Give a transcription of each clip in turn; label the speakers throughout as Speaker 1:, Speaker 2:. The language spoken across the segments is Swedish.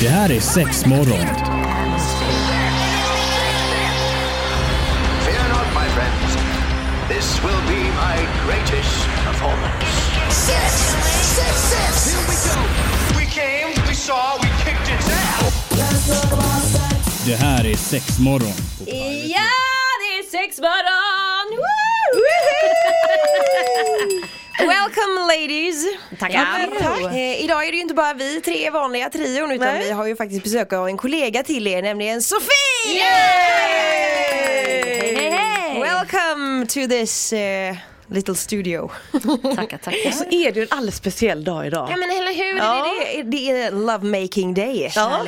Speaker 1: Det här är sex morgon.
Speaker 2: Fear not, my friends. This will be my greatest performance.
Speaker 3: Six, six, six. Here we go.
Speaker 2: We came, we saw, we kicked its ass.
Speaker 1: Det här är sex morgon. på Pirate
Speaker 4: Ja, det är sexmorgon!
Speaker 5: Welcome ladies!
Speaker 4: Tackar.
Speaker 5: Eh, idag är det ju inte bara vi tre vanliga trion utan vi har ju faktiskt besök av en kollega till er, nämligen Sofie!
Speaker 4: Hej, hej, hej.
Speaker 5: Welcome to this eh, little studio.
Speaker 4: Tackar, tackar.
Speaker 6: Så är det ju en alldeles speciell dag idag.
Speaker 5: ja men eller hur, det, är, det är love making day.
Speaker 6: Det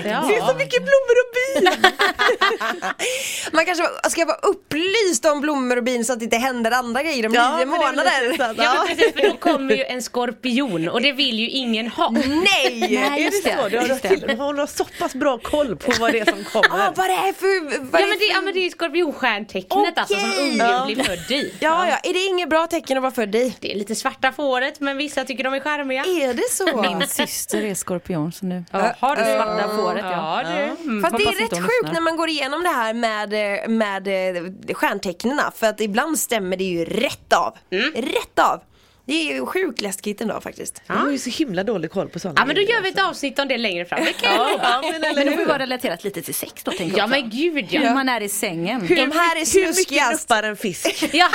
Speaker 6: är så mycket blommor och bin!
Speaker 5: Man kanske ska vara upplyst om blommor och bin så att det inte händer andra grejer om
Speaker 6: Ja,
Speaker 5: nio
Speaker 6: men det är väl
Speaker 5: månader.
Speaker 6: lite sant,
Speaker 5: Ja.
Speaker 7: Ja men precis, för då kommer ju en skorpion och det vill ju ingen ha.
Speaker 5: Mm. Nej!
Speaker 6: är
Speaker 7: Nej,
Speaker 6: det
Speaker 7: just det,
Speaker 6: så? Du har,
Speaker 7: just det.
Speaker 6: till, har du så pass bra koll på vad det är som
Speaker 5: Ah,
Speaker 6: kommer?
Speaker 5: vad det är för... Vad
Speaker 7: Ja
Speaker 5: är
Speaker 7: men det,
Speaker 5: för-
Speaker 7: ja, men det är ju skorpionstjärntecknet alltså som
Speaker 5: Okej.
Speaker 7: ungen
Speaker 5: Ja.
Speaker 7: blir född i.
Speaker 5: Ja, ja, är det inget bra tecken att vara född i?
Speaker 7: Det är lite svarta på håret men vissa tycker de är charmiga.
Speaker 5: Är det så?
Speaker 8: Min syster är skorpion så nu.
Speaker 7: Ja, har du svarta
Speaker 8: på håret, ja.
Speaker 7: ja du. Mm.
Speaker 5: Fast det
Speaker 8: hoppas
Speaker 5: är
Speaker 8: inte
Speaker 5: rätt
Speaker 8: hon
Speaker 5: sjukt
Speaker 8: lyssnar.
Speaker 5: när man går igenom det här med, eh, med eh, stjärntecknena för att ibland stämmer det ju rätt av. Rätt av! Det är ju sjukt läskigt ändå faktiskt.
Speaker 6: Jag har ju så himla dålig koll på sådana
Speaker 7: Ja men då gör vi ett avsnitt om det längre fram. Det kan jag lova.
Speaker 6: Ja, men eller
Speaker 8: Men det får ju
Speaker 6: hur?
Speaker 8: vara relaterat lite till sex då tänker
Speaker 7: Ja
Speaker 8: jag.
Speaker 7: men gud
Speaker 8: Hur
Speaker 7: ja.
Speaker 8: man är i sängen.
Speaker 5: De här är
Speaker 6: Hur mycket
Speaker 5: snuskigast.
Speaker 6: nuppar en fisk?
Speaker 7: ja.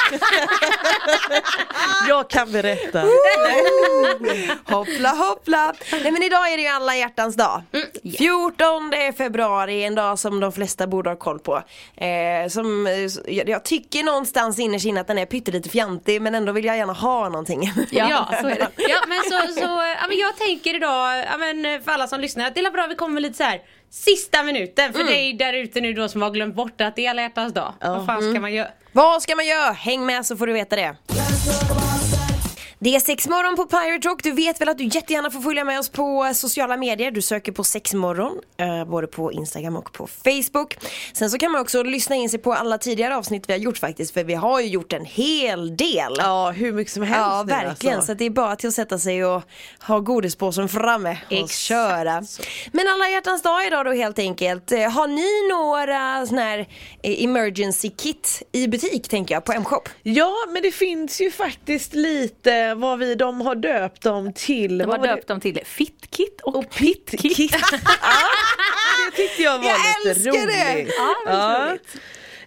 Speaker 6: Jag kan berätta.
Speaker 5: Hoppla hoppla! Nej men idag är det ju alla hjärtans dag.
Speaker 7: Mm,
Speaker 5: 14 februari, en dag som de flesta borde ha koll på. Eh, som, eh, s- jag, jag tycker någonstans innerst inne att den är pyttelite fjantig men ändå vill jag gärna ha någonting.
Speaker 7: Ja, så är det. ja men så, så ja, men jag tänker idag, ja, men för alla som lyssnar, att det är bra vi kommer med lite så här sista minuten för
Speaker 5: Mm.
Speaker 7: dig där ute nu då som har glömt bort att det är alla hjärtans dag. Vad fan
Speaker 5: Mm.
Speaker 7: ska man göra?
Speaker 5: Vad ska man göra? Häng med så får du veta det. Det är sexmorgon på Pirate Rock. Du vet väl att du jättegärna får följa med oss på eh, sociala medier. Du söker på sexmorgon, eh, både på Instagram och på Facebook. Sen så kan man också lyssna in sig på alla tidigare avsnitt vi har gjort faktiskt, för vi har ju gjort en hel del.
Speaker 6: Ja, hur mycket som helst
Speaker 5: Ja,
Speaker 6: nu,
Speaker 5: verkligen.
Speaker 6: alltså.
Speaker 5: Så att det är bara till att sätta sig och ha godispåsen framme och
Speaker 7: Exakt
Speaker 5: köra. Men alla hjärtans dag idag då helt enkelt. Eh, Har ni några sån här eh, emergency kit i butik tänker jag på M-shop?
Speaker 6: Ja, men det finns ju faktiskt lite vad vi, de har döpt dem till.
Speaker 8: De
Speaker 6: vad
Speaker 8: har
Speaker 6: var det?
Speaker 8: döpt dem till Fittkit och,
Speaker 6: Och pittkit. ja, det tyckte jag var
Speaker 5: Jag
Speaker 6: lite
Speaker 5: älskar det.
Speaker 6: roligt. Ja.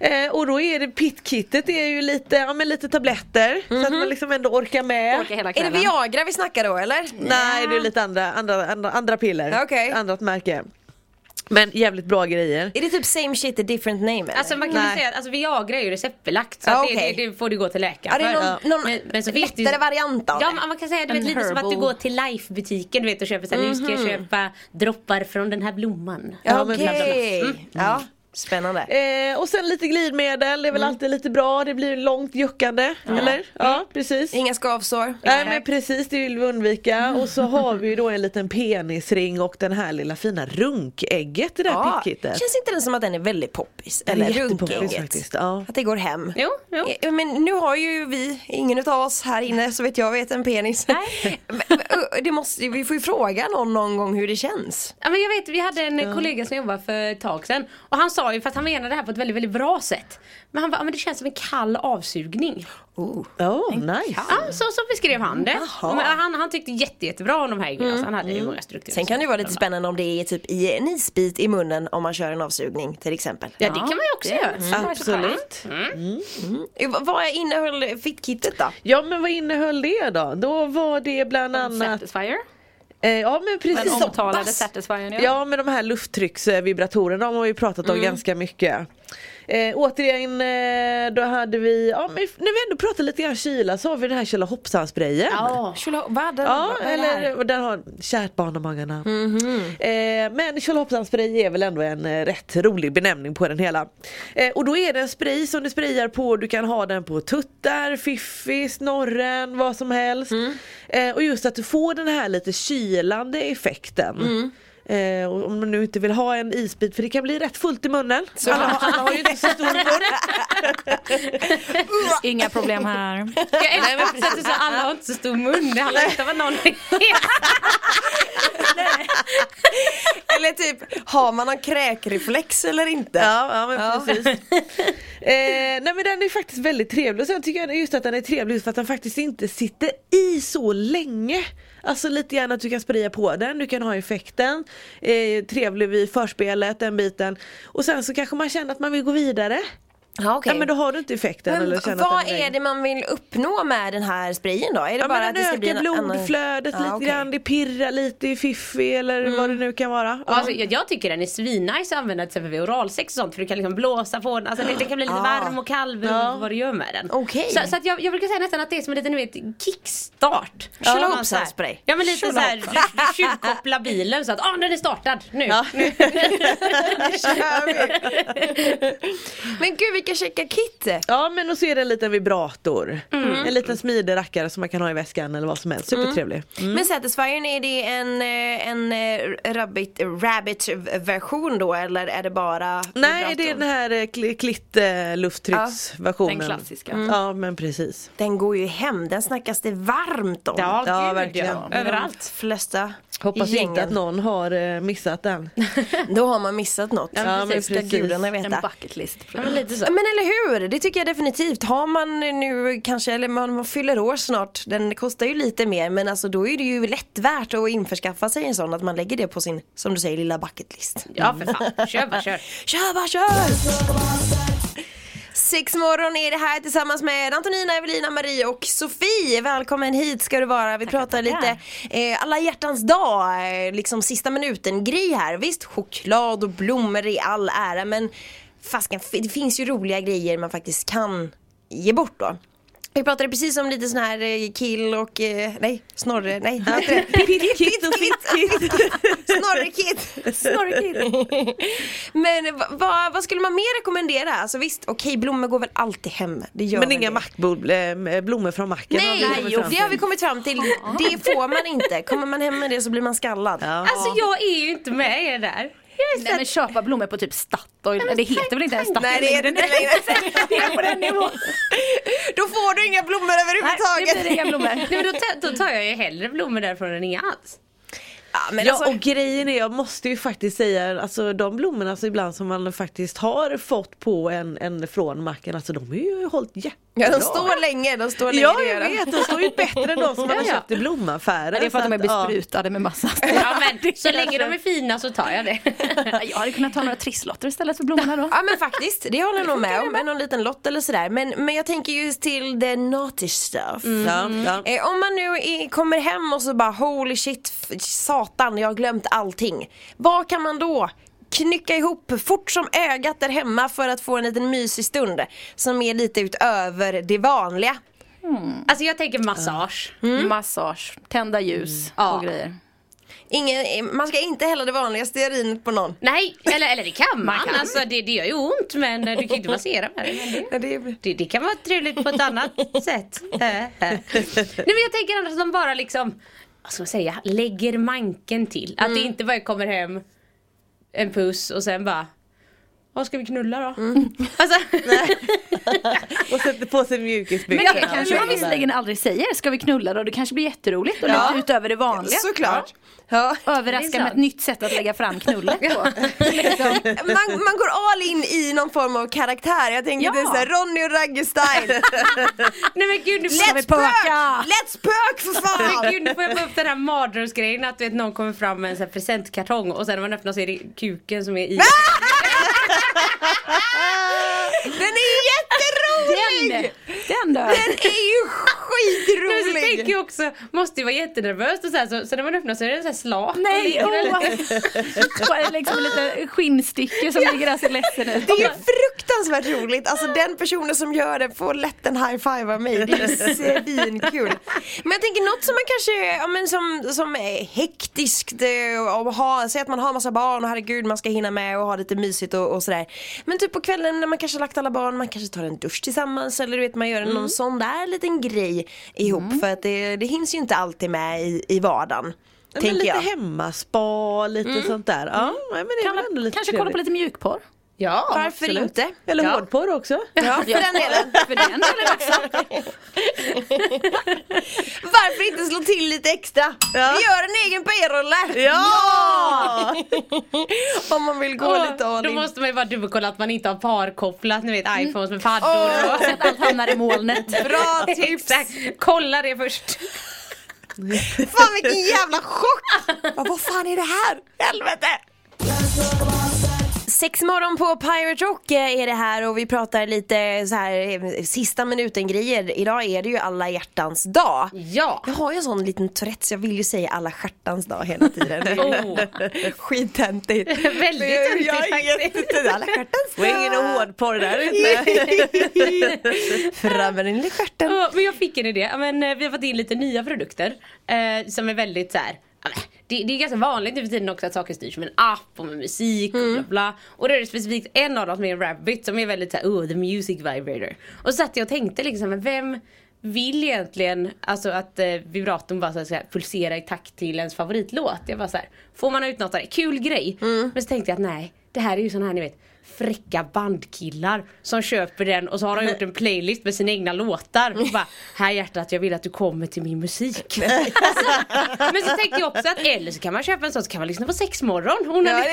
Speaker 6: Eh, och då är det pittkittet, det är ju lite, ja, men lite tabletter så att man liksom ändå orkar med.
Speaker 8: Orkar hela
Speaker 5: Är det
Speaker 8: kvällen.
Speaker 5: Viagra vi snackar då eller?
Speaker 6: Nej det är lite andra, andra, andra, andra piller,
Speaker 5: Okej.
Speaker 6: annat märke. Men jävligt bra grejer.
Speaker 5: Är det typ same shit a different name eller?
Speaker 7: Alltså man kan
Speaker 6: Nej.
Speaker 7: väl säga att alltså, Viagra är ju receptbelagt så
Speaker 5: Ja,
Speaker 7: att
Speaker 5: okej.
Speaker 7: det, det, det får du gå till läkaren
Speaker 5: Ja, det är
Speaker 7: för.
Speaker 5: någon, någon
Speaker 7: Men- men så finns det ju-
Speaker 5: lättare variant av
Speaker 7: Ja
Speaker 5: det.
Speaker 7: men man kan säga du vet,
Speaker 8: En
Speaker 7: lite som att du
Speaker 8: herbal.
Speaker 7: går till Life-butiken du vet och köper så här, nu ska
Speaker 5: Mhm.
Speaker 7: jag köpa droppar från den här blomman.
Speaker 6: Ja, men
Speaker 5: Okej,
Speaker 6: bland
Speaker 5: ja, spännande.
Speaker 6: Eh, och sen lite glidmedel, det är väl alltid lite bra, det blir långt juckande. Eller? Ja precis.
Speaker 5: Inga skavsår?
Speaker 6: Nej men precis, det vill vi undvika. Och så har vi ju då en liten penisring och den här lilla fina runkägget i det här
Speaker 5: Ja,
Speaker 6: pittkittet.
Speaker 5: Känns inte den som att den är väldigt poppis?
Speaker 6: är
Speaker 5: Eller
Speaker 6: jättepoppis
Speaker 5: runkägget?
Speaker 6: faktiskt, ja.
Speaker 5: Att det går hem?
Speaker 7: Jo, jo.
Speaker 5: Eh, Men nu har ju vi, ingen utav oss här inne så vet jag vet en penis. Men- men, eh, det måste, ju- vi får ju fråga någon någon gång hur det känns.
Speaker 7: Ja, men jag vet, vi hade en kollega som jobbade för ett tag sedan och han sa ju, fast han menade det här på ett väldigt, väldigt bra sätt. Men han bara, ja, men det känns som en kall avsugning.
Speaker 6: Oh, nice.
Speaker 7: Ja, så, så beskrev han det. Men han, han tyckte jätte, jättebra om de här grejerna, så han hade ju många strukturer.
Speaker 5: Mm. Sen kan det ju vara lite spännande om det är typ i en isbit i munnen om man kör en avsugning till exempel.
Speaker 7: Ja, det kan man ju också göra.
Speaker 8: Mm.
Speaker 6: Absolut.
Speaker 5: Eh, vad- Vad innehöll fittkittet då?
Speaker 6: Ja men vad innehöll det då? Då var det bland annat
Speaker 8: Satisfyer.
Speaker 6: Eh, Ja men
Speaker 8: Den
Speaker 6: precis.
Speaker 8: omtalade Satisfyern ja.
Speaker 6: Ja men de här lufttrycksvibratorerna de har vi pratat om ganska mycket. Eh, återigen eh, då hade vi, ja, men när vi ändå pratar lite grann kyla så har vi den här kyla hoppsan-sprayen.
Speaker 7: Ja.
Speaker 5: Vad
Speaker 6: Ja, eller och den har kärt barn och magarna. Eh, men kölhoppsanspray är väl ändå en eh, rätt rolig benämning på den hela. Eh, och då är det en spray som du sprayar på, du kan ha den på tuttar, fiffi, snorren, vad som helst. Eh, och just att du får den här lite kylande effekten. Eh, och om man nu inte vill ha en isbit för det kan bli rätt fullt i munnen. Alla, har- alla har ju inte så stor mun.
Speaker 8: Inga problem här.
Speaker 7: Jag älskar också att du sa alla har inte så stor mun. Det handlar inte om att någon är
Speaker 5: Eller typ, Har man någon kräkreflex eller inte?
Speaker 6: Ja, ja men precis. eh, nej men den är faktiskt väldigt trevlig och sen tycker jag just att den är trevlig just för att den faktiskt inte sitter i så länge. Alltså lite grann att du kan spraya på den, du kan ha effekten, eh, trevlig vid förspelet, den biten. Och sen så kanske man känner att man vill gå vidare.
Speaker 5: Ja, okej.
Speaker 6: Ja men då har du inte effekten.
Speaker 5: Men
Speaker 6: eller känner att
Speaker 5: vad
Speaker 6: den
Speaker 5: är det man vill uppnå med den här sprayen då? Är det
Speaker 6: Ja,
Speaker 5: bara
Speaker 6: men
Speaker 5: att
Speaker 6: den
Speaker 5: det ska bli
Speaker 6: ökar
Speaker 5: en annan-
Speaker 6: blodflödet
Speaker 5: Ja,
Speaker 6: lite
Speaker 5: okej. Mm.
Speaker 6: grann, det pirrar lite i fiffi eller vad det nu kan vara.
Speaker 7: Alltså, jag, jag tycker den är svinnice att använda till exempel vid oralsex och sånt för du kan liksom blåsa på den, alltså, den den kan bli lite
Speaker 5: Ah.
Speaker 7: varm och kall beroende på vad du gör med den.
Speaker 5: Okej.
Speaker 7: Så, så att jag, jag brukar säga nästan att det är som en liten du vet, kickstart.
Speaker 5: Köra
Speaker 7: Ja,
Speaker 5: ihop
Speaker 7: man
Speaker 5: så här
Speaker 7: så här-
Speaker 5: spray.
Speaker 7: Ja men lite
Speaker 5: Köra
Speaker 7: så här,
Speaker 5: ihop.
Speaker 7: du, du tjuvkopplar bilen så att ah, den är startad nu. nu.
Speaker 5: Men gud vilka checka kit!
Speaker 6: Ja men och så är det en liten vibrator.
Speaker 5: Mm.
Speaker 6: En liten smidig rackare som man kan ha i väskan eller vad som helst. Supertrevlig.
Speaker 5: Men Satisfyern, är det en, eh, en eh, rabbit, rabbit version då eller är det bara
Speaker 6: Nej det är
Speaker 5: vibratorn?
Speaker 6: den här eh, kli- klitt eh, lufttrycksversionen.
Speaker 8: den klassiska.
Speaker 5: Mm.
Speaker 6: Ja men precis.
Speaker 5: Den går ju hem, den snackas det varmt om.
Speaker 7: Ja,
Speaker 6: Ja, Mm.
Speaker 7: gud,
Speaker 6: verkligen.
Speaker 7: ja. Överallt.
Speaker 5: De flesta
Speaker 6: Hoppas
Speaker 5: gängen.
Speaker 6: inte att någon har eh, missat den.
Speaker 5: Då har man missat något.
Speaker 6: Ja, men
Speaker 5: det ska
Speaker 6: precis.
Speaker 5: gudarna
Speaker 8: En
Speaker 5: veta.
Speaker 8: bucket list.
Speaker 7: Ja, men lite så.
Speaker 5: Men eller hur, det tycker jag definitivt. Har man nu kanske, eller man, man fyller år snart, den kostar ju lite mer men alltså då är det ju lätt värt att införskaffa sig en sån att man lägger det på sin, som du säger, lilla bucket list.
Speaker 7: Ja för fan, kör bara kör.
Speaker 5: Kör bara kör! Sex morgon är det här tillsammans med Antonina, Evelina, Marie och Sofie. Välkommen hit ska du vara. Vi pratar lite eh, alla hjärtans dag, eh, liksom sista minuten grej här. Visst, choklad och blommor i all ära men fasken, f- det finns ju roliga grejer man faktiskt kan ge bort då. Vi pratade precis om lite sån här eh, kill och, eh, nej, snorre, nej. vad heter det?
Speaker 6: Pittkit och fittkit.
Speaker 5: Snorrekid! Snorrekid! Men va- va- vad skulle man mer rekommendera? Alltså visst, okej blommor går väl alltid hem. Det gör
Speaker 6: Men
Speaker 5: väl
Speaker 6: inga
Speaker 5: det.
Speaker 6: mackbord, eh, blommor från macken har vi
Speaker 5: Nej,
Speaker 6: kommit fram
Speaker 5: det har vi kommit fram till. Det får man inte. Kommer man hem med det så blir man skallad.
Speaker 6: Ja.
Speaker 7: Alltså jag är ju inte med er där. Jag är så
Speaker 8: Nej men köpa blommor på typ Statoil, det heter väl inte ens Statoil?
Speaker 5: Nej det är det
Speaker 8: längre?
Speaker 5: inte längre.
Speaker 8: Det är på den nivån.
Speaker 5: Då får du inga blommor
Speaker 8: Nej, nu blir det
Speaker 5: överhuvudtaget.
Speaker 8: inga blommor.
Speaker 7: Nej, men då, tar- då tar jag ju hellre blommor därifrån än inga alls.
Speaker 5: Ja, men
Speaker 6: Ja
Speaker 5: alltså,
Speaker 6: och grejen är, jag måste ju faktiskt säga, alltså de blommorna alltså, ibland som man faktiskt har fått på en, en från macken, alltså de har ju hållit jättebra.
Speaker 5: ja, de står länge, de står länge
Speaker 6: Ja
Speaker 5: det
Speaker 6: jag
Speaker 5: gör de.
Speaker 6: vet, de står ju bättre än de som man har
Speaker 8: Ja, ja.
Speaker 6: köpt i blomaffären.
Speaker 8: Men det är för att de är
Speaker 6: så ja.
Speaker 8: besprutade med massa
Speaker 7: Ja, men, så länge de är alltså- fina så tar jag det.
Speaker 8: Jag hade kunnat ta några trisslotter istället för blommorna då.
Speaker 5: Ja men faktiskt, det håller jag nog med om. Någon liten lott eller sådär. Men, men jag tänker just till the naughty stuff.
Speaker 6: Ja, ja.
Speaker 5: Eh, om man nu är, kommer hem och så bara holy shit, f- satan jag har glömt allting. Vad kan man då knycka ihop fort som ögat där hemma för att få en liten mysig stund som är lite utöver det vanliga?
Speaker 7: Alltså jag tänker massage.
Speaker 8: Mm. Massage, tända ljus
Speaker 7: Ja.
Speaker 8: och grejer.
Speaker 5: Ingen, eh, man ska inte hälla det vanliga stearinet på någon.
Speaker 7: Nej, eller, eller det kan man.
Speaker 8: kan.
Speaker 7: Alltså, det, det gör ju ont men du kan ju inte massera med det. Men det-
Speaker 5: Det,
Speaker 7: Det, det kan vara trevligt på ett annat sätt. Nej men jag tänker annars att de bara liksom, vad ska man säga, lägger manken till. Att det inte bara kommer hem en puss och sen bara, vad ska vi knulla då? Alltså,
Speaker 6: Och sätter på sig mjukisbyxorna.
Speaker 8: Men det kanske man
Speaker 6: och sådär.
Speaker 8: visserligen aldrig säger. Ska vi knulla då? Det kanske blir jätteroligt och lite utöver det vanliga.
Speaker 5: såklart. Ja.
Speaker 7: Det
Speaker 8: Överraska
Speaker 7: är
Speaker 8: med ett
Speaker 7: sant.
Speaker 8: nytt sätt att lägga fram knullet på.
Speaker 5: Man, man går all in i någon form av karaktär. Jag tänker
Speaker 8: Ja.
Speaker 5: det är såhär Ronny och Ragge-style.
Speaker 7: nej men gud nu får
Speaker 5: Let's pök! Let's pök för
Speaker 7: Men
Speaker 5: fan!
Speaker 7: gud, nu får jag bara upp den här mardrömsgrejen att du vet, någon kommer fram med en sån här presentkartong och sen när man öppnar så är det kuken som är i.
Speaker 5: Den är jätterolig!
Speaker 8: Den, den då.
Speaker 5: Den är ju
Speaker 7: Men så tänker
Speaker 5: skitrolig!
Speaker 7: jag Alltså, också, måste ju vara jättenervös och så, här, så, så när man öppnar så är det en sån här slak.
Speaker 8: Nej, åh! Bara liksom lite skinnstycke som ligger där och ser ledsen ut.
Speaker 5: Det är ju fruktansvärt roligt, alltså den personen som gör det får lätt en high five av mig. Det är ju svinkul. Men jag tänker något som man kanske, ja men som, som är hektiskt eh, och ha, säg att man har massa barn och herregud man ska hinna med och ha lite mysigt och, och sådär. Men typ på kvällen när man kanske har lagt alla barn, man kanske tar en dusch tillsammans eller du vet man gör
Speaker 7: Mm.
Speaker 5: någon sån där liten grej ihop för att det, det hinns ju inte alltid med i, i vardagen.
Speaker 6: Ja, men
Speaker 5: tänker
Speaker 6: lite
Speaker 5: jag.
Speaker 6: hemmaspa, lite sånt där. Ja, men det är väl ändå lite
Speaker 8: Kanske kolla på
Speaker 6: trevligt.
Speaker 8: lite mjukporr.
Speaker 7: Ja,
Speaker 5: Varför
Speaker 7: absolut.
Speaker 5: inte?
Speaker 6: Eller hårdporr också.
Speaker 5: Ja, för den delen.
Speaker 8: För den delen också.
Speaker 5: Varför inte slå till lite extra? Vi gör en egen p-rulle! Ja!
Speaker 6: Ja.
Speaker 5: Om man vill gå lite all
Speaker 7: Då
Speaker 5: in.
Speaker 7: måste man ju bara dubbelkolla att man inte har parkopplat, ni vet iPhones med paddor
Speaker 8: Så
Speaker 7: och...
Speaker 8: att allt hamnar i molnet.
Speaker 7: Bra tips! Exakt. Kolla det först.
Speaker 5: Fan vilken jävla chock! Vad, vad fan är det här? Helvete! Sex morgon på Pirate Rock eh, är det här och vi pratar lite så här eh, sista minuten grejer. Idag är det ju alla hjärtans dag.
Speaker 7: Ja!
Speaker 5: Jag har ju en sån liten Tourettes, jag vill ju säga alla stjärtans dag hela tiden.
Speaker 7: Oh.
Speaker 5: Skittöntigt.
Speaker 7: Väldigt
Speaker 5: Men jag-
Speaker 7: töntigt
Speaker 5: jag är
Speaker 7: faktiskt.
Speaker 5: jättetöntig. Alla stjärtans
Speaker 6: Det var ingen
Speaker 5: dag.
Speaker 6: hårdporr där inte.
Speaker 5: Fram med den lilla stjärten.
Speaker 7: Ja, Men jag fick en idé. Ja, Men, eh, vi har fått in lite nya produkter eh, som är väldigt så här. ja, men, Det, det är ganska vanligt nu för tiden också att saker styrs med en app och med musik och bla bla. Och då är det specifikt en av dem som är en rabbit som är väldigt såhär oh the music vibrator. Och så satt jag och tänkte liksom men vem vill egentligen alltså att eh, vibratorn bara så här ska pulsera i takt till ens favoritlåt. Jag bara så här, får man ut något av det? Kul grej. Men så tänkte jag att nej det här är ju sån här ni vet fräcka bandkillar som köper den och så har de gjort en playlist med sina egna låtar och bara Här hjärtat jag vill att du kommer till min musik alltså, Men så tänkte jag också att eller så kan man köpa en sån så kan man lyssna på sexmorgon Hon har
Speaker 5: Ja, det,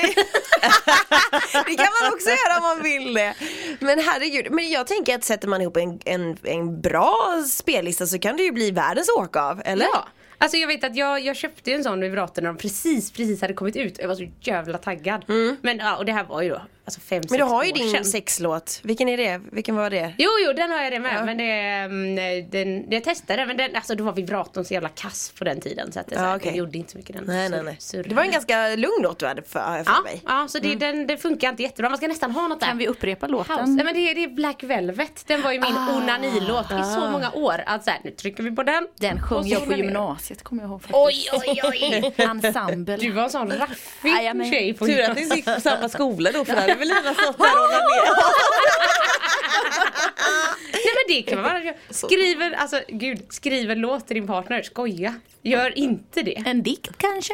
Speaker 5: det kan man också göra om man vill det. Men herregud, men jag tänker att sätter man ihop en, en, en bra spellista så kan det ju bli världens åka av, eller?
Speaker 7: Ja. Alltså jag vet att jag, jag köpte ju en sån vibrator när de precis, precis hade kommit ut jag var så jävla taggad Men ja och det här var ju då alltså fem,
Speaker 5: Mm. Men
Speaker 7: sex
Speaker 5: du har ju
Speaker 7: år
Speaker 5: din
Speaker 7: sedan.
Speaker 5: sexlåt, vilken är det? Vilken var det?
Speaker 7: Jo, jo, den har jag det med. Men det, mm, den, jag testade men den, alltså, då var vibratorn så jävla kass på den tiden. Så att det, så
Speaker 5: Ja,
Speaker 7: här,
Speaker 5: okej.
Speaker 7: den gjorde inte så mycket. Den
Speaker 5: Nej, nej, nej.
Speaker 7: sur-
Speaker 5: Det var en ganska Mm. lugn låt du hade för, för
Speaker 7: ja,
Speaker 5: mig.
Speaker 7: ja, så det, den, det funkar inte jättebra. Man ska nästan ha något där.
Speaker 8: Kan vi upprepa
Speaker 7: House.
Speaker 6: Mm.
Speaker 8: låten?
Speaker 7: Nej, men det, är- det är Black Velvet. Den var ju min
Speaker 5: Ah.
Speaker 7: onanilåt i så många år. Att så här, nu trycker vi på den.
Speaker 8: Den
Speaker 7: Och
Speaker 8: sjöng
Speaker 7: så
Speaker 8: jag på
Speaker 7: onanerar.
Speaker 8: gymnasiet kommer jag ihåg. faktiskt.
Speaker 7: Oj, oj, oj.
Speaker 8: Ensemble.
Speaker 7: Du var en sån raffig
Speaker 8: Nej, men-
Speaker 7: tjej. På
Speaker 6: Tur att ni inte gick på samma skola då för då hade väl Lina stått där och onanerat.
Speaker 7: Nej men det kan man vara. Skriver, alltså gud, skriver låt till din partner. Skoja. Gör inte det.
Speaker 8: En dikt kanske?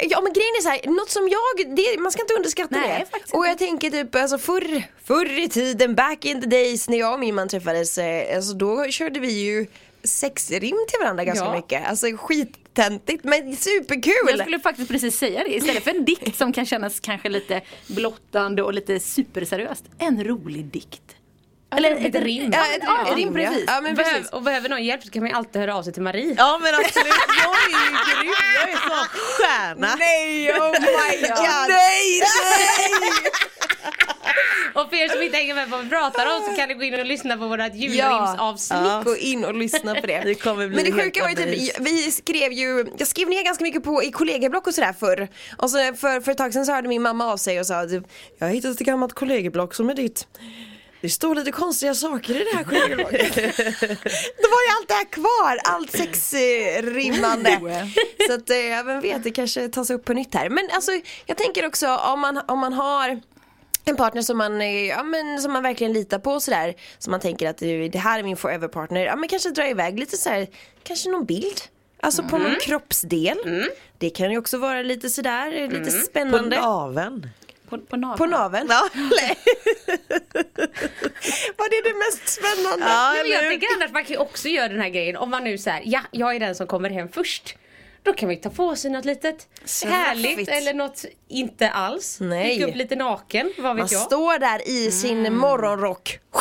Speaker 5: Ja men grejen är så här, något som jag, det, man ska inte underskatta
Speaker 8: Nej,
Speaker 5: det.
Speaker 8: faktiskt
Speaker 5: Och jag tänker typ alltså förr, förr i tiden, back in the days när jag och min man träffades, eh, alltså då körde vi ju sexrim till varandra ganska
Speaker 7: Ja.
Speaker 5: mycket. Alltså skittöntigt men
Speaker 8: Jag
Speaker 5: superkul!
Speaker 8: skulle faktiskt precis säga det. Istället för en dikt som kan kännas kanske lite blottande och lite superseriöst. En rolig dikt. Eller ett rim.
Speaker 5: Ja, ett rim,
Speaker 8: Ja,
Speaker 5: ett rim
Speaker 8: rim, precis.
Speaker 5: Ja. ja men
Speaker 7: Behöv,
Speaker 5: precis.
Speaker 7: och behöver någon hjälp så kan man ju alltid höra av sig till Marie.
Speaker 6: Ja men absolut, jag är ju grym, jag är sån stjärna.
Speaker 5: Nej oh my god! nej, nej!
Speaker 7: Och för er som inte hänger med på vad vi pratar om så kan ni gå in och lyssna på vårat julrimsavsnitt.
Speaker 5: Ah. Ja. Gå in och lyssna på det.
Speaker 6: Det kommer bli
Speaker 5: Men det
Speaker 6: helt
Speaker 5: sjuka var ju typ,
Speaker 6: underbart.
Speaker 5: vi skrev ju, jag skrev ner ganska mycket på i kollegieblock och sådär förr. Och så för, för ett tag sedan så hörde min mamma av sig och sa typ, jag har hittat ett gammalt kollegieblock som är ditt. Det står lite konstiga saker i det här kollegieblocket. Då var ju allt det här kvar, allt sexrimmande. Så att, eh, ja, vem vet, det kanske tas upp på nytt här. Men alltså, jag tänker också om man, om man har en partner som man, eh, ja, men, som man verkligen litar på och sådär. Som man tänker att eh, det här är min forever partner. Ja men kanske dra iväg lite så här, kanske någon bild. Alltså på
Speaker 6: Mm.
Speaker 5: någon kroppsdel. Det kan ju också vara lite sådär, eh, lite
Speaker 6: Mm. På
Speaker 5: spännande.
Speaker 6: naveln.
Speaker 8: På, på naveln.
Speaker 5: På naveln. Var det det mest spännande?
Speaker 7: Nej, men jag tänker annars man kan ju också göra den här grejen om man nu säger ja jag är den som kommer hem först. Då kan vi ta på sig något litet härligt
Speaker 5: Sraffigt.
Speaker 7: eller något inte alls.
Speaker 5: Nej.
Speaker 7: Dyka upp lite naken, vad vet
Speaker 5: Man
Speaker 7: jag.
Speaker 5: står där i sin morgonrock.
Speaker 6: Mm. Ja,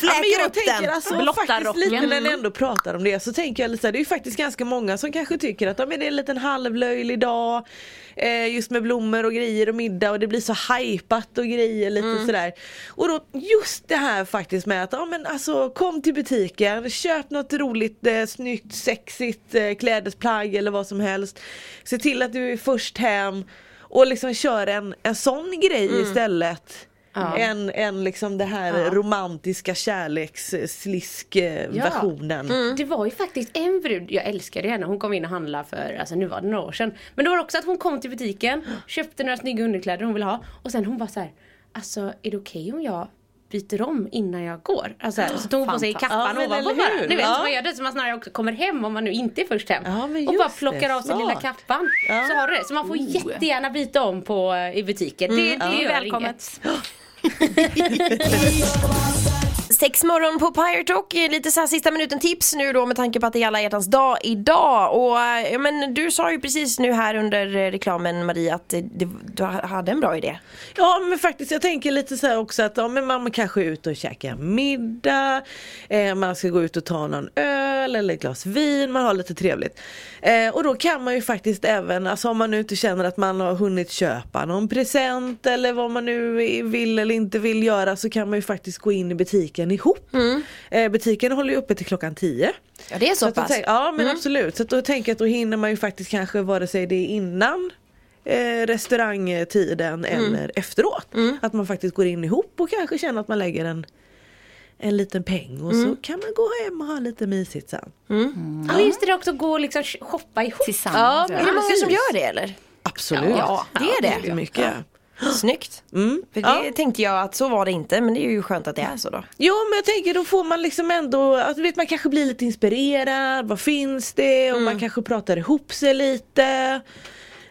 Speaker 6: men
Speaker 5: Fläker
Speaker 6: jag
Speaker 5: upp
Speaker 6: tänker
Speaker 5: den.
Speaker 6: alltså
Speaker 8: Blotta
Speaker 6: faktiskt lite
Speaker 8: rocken.
Speaker 6: när ni ändå pratar om det så tänker jag lite så här, det är ju faktiskt ganska många som kanske tycker att ja, men det är en liten halvlöjlig dag eh, just med blommor och grejer och middag och det blir så hajpat och grejer lite sådär. Och då just det här faktiskt med att ja, men alltså, kom till butiken, köp något roligt, eh, snyggt, sexigt eh, klädesplagg eller vad som helst. Se till att du är först hem och liksom kör en, en sån grej istället. Än, än liksom det här romantiska eh,
Speaker 7: Ja.
Speaker 6: kärleksslisk-versionen.
Speaker 7: Det var ju faktiskt en brud, jag älskade henne, hon kom in och handlade för, alltså nu var det några år sedan. Men det var också att hon kom till butiken, köpte några snygga underkläder hon ville ha och sen hon bara så här, alltså är det okej om jag byter om innan jag går? Alltså så här, så tog hon på sig
Speaker 6: Fantastiskt.
Speaker 7: kappan
Speaker 6: Ja, men
Speaker 7: ovanpå
Speaker 6: eller
Speaker 7: bara.
Speaker 6: hur?
Speaker 7: Ni vet
Speaker 6: Ja.
Speaker 7: så man gör det så man snarare också kommer hem om man nu inte är först hem.
Speaker 6: Ja, men
Speaker 7: och bara
Speaker 6: just
Speaker 7: plockar
Speaker 6: det.
Speaker 7: av sig lilla
Speaker 6: Smart.
Speaker 7: kappan.
Speaker 6: Ja. Oh.
Speaker 7: Så har du det. Så man får jättegärna byta om på, eh,
Speaker 6: Mm.
Speaker 7: i butiken. Det, det
Speaker 8: Det
Speaker 7: gör
Speaker 8: är
Speaker 7: inget.
Speaker 8: välkommet.
Speaker 5: Sex morgon på Pirate Rock, eh, lite så här sista minuten tips nu då med tanke på att det är alla hjärtans dag idag. Och eh, ja, men du sa ju precis nu här under eh, reklamen Maria att eh, det, du ha- hade en bra idé.
Speaker 6: Ja men faktiskt jag tänker lite så här också att ja, men man kanske är ute och käkar middag, eh, man ska gå ut och ta någon öl eller ett glas vin, man har lite trevligt. Eh, och då kan man ju faktiskt även, alltså om man nu inte känner att man har hunnit köpa någon present eller vad man nu vill eller inte vill göra så kan man ju faktiskt gå in i butiken ihop. Eh, butiken håller ju uppe till klockan 10.
Speaker 5: Ja det är så,
Speaker 6: att då
Speaker 5: pass.
Speaker 6: tänk- ja men absolut, så att då tänker jag att då hinner man ju faktiskt kanske vare sig det är innan eh, restaurangtiden eller efteråt. Att man faktiskt går in ihop och kanske känner att man lägger en, en liten peng och så kan man gå hem och ha lite mysigt sen.
Speaker 7: Ja just det, det är också gå och liksom shoppa ihop.
Speaker 8: Tillsammans.
Speaker 5: Är det många som gör det eller?
Speaker 6: Absolut.
Speaker 5: Ja, Mm. det är det.
Speaker 6: Mycket.
Speaker 5: Snyggt. För det tänkte jag att så var det inte men det är ju skönt att det är så då.
Speaker 6: Jo men jag tänker då får man liksom ändå, alltså, vet, man kanske blir lite inspirerad, vad finns det? Och man kanske pratar ihop sig lite.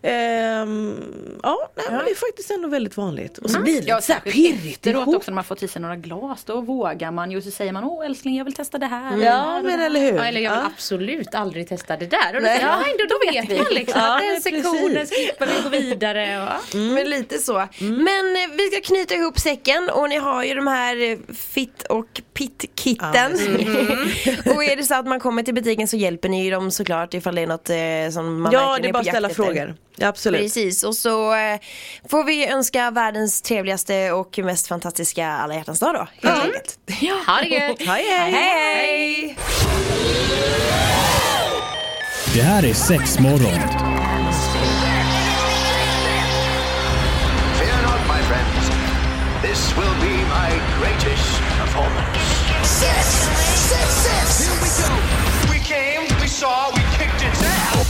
Speaker 6: Ehm, ja, nej, Men det är faktiskt ändå väldigt vanligt. Och så blir det lite så här
Speaker 8: Mm. särskilt
Speaker 6: pirrigt
Speaker 8: efteråt
Speaker 6: ihop.
Speaker 8: också när man får i sig några glas. Då vågar man ju. Så säger man åh älskling jag vill testa det här. och det här
Speaker 6: Ja
Speaker 8: och det
Speaker 6: men
Speaker 8: här."
Speaker 6: eller hur.
Speaker 7: Ja, eller jag vill
Speaker 6: Ja.
Speaker 7: absolut aldrig testa det där. Och då, säger jag, ja, ändå, då vet man liksom
Speaker 6: Ja,
Speaker 7: att den
Speaker 6: men
Speaker 7: sektionen
Speaker 6: precis.
Speaker 7: skippar vi och går vidare. Och,
Speaker 6: Mm.
Speaker 5: Men lite så. Men eh, vi ska knyta ihop säcken och ni har ju de här eh, fit och pit-kitten.
Speaker 6: Mm.
Speaker 5: och är det så att man kommer till butiken så hjälper ni ju dem såklart ifall det är något eh, som man
Speaker 6: Ja,
Speaker 5: verkligen
Speaker 6: det är bara att
Speaker 5: på jakt
Speaker 6: ställa
Speaker 5: efter.
Speaker 6: frågor. Ja, absolut.
Speaker 5: Precis, och så eh, får vi önska världens trevligaste och mest fantastiska alla hjärtans dag då. Helt enkelt.
Speaker 7: Ha det gött!
Speaker 6: Hej, hej.
Speaker 5: Hej!
Speaker 1: Det här är sex morgon.
Speaker 2: Fear not, my friends. This will be my greatest performance.
Speaker 3: Six, six, six. Here we go.
Speaker 2: We came, we saw, we kicked its ass.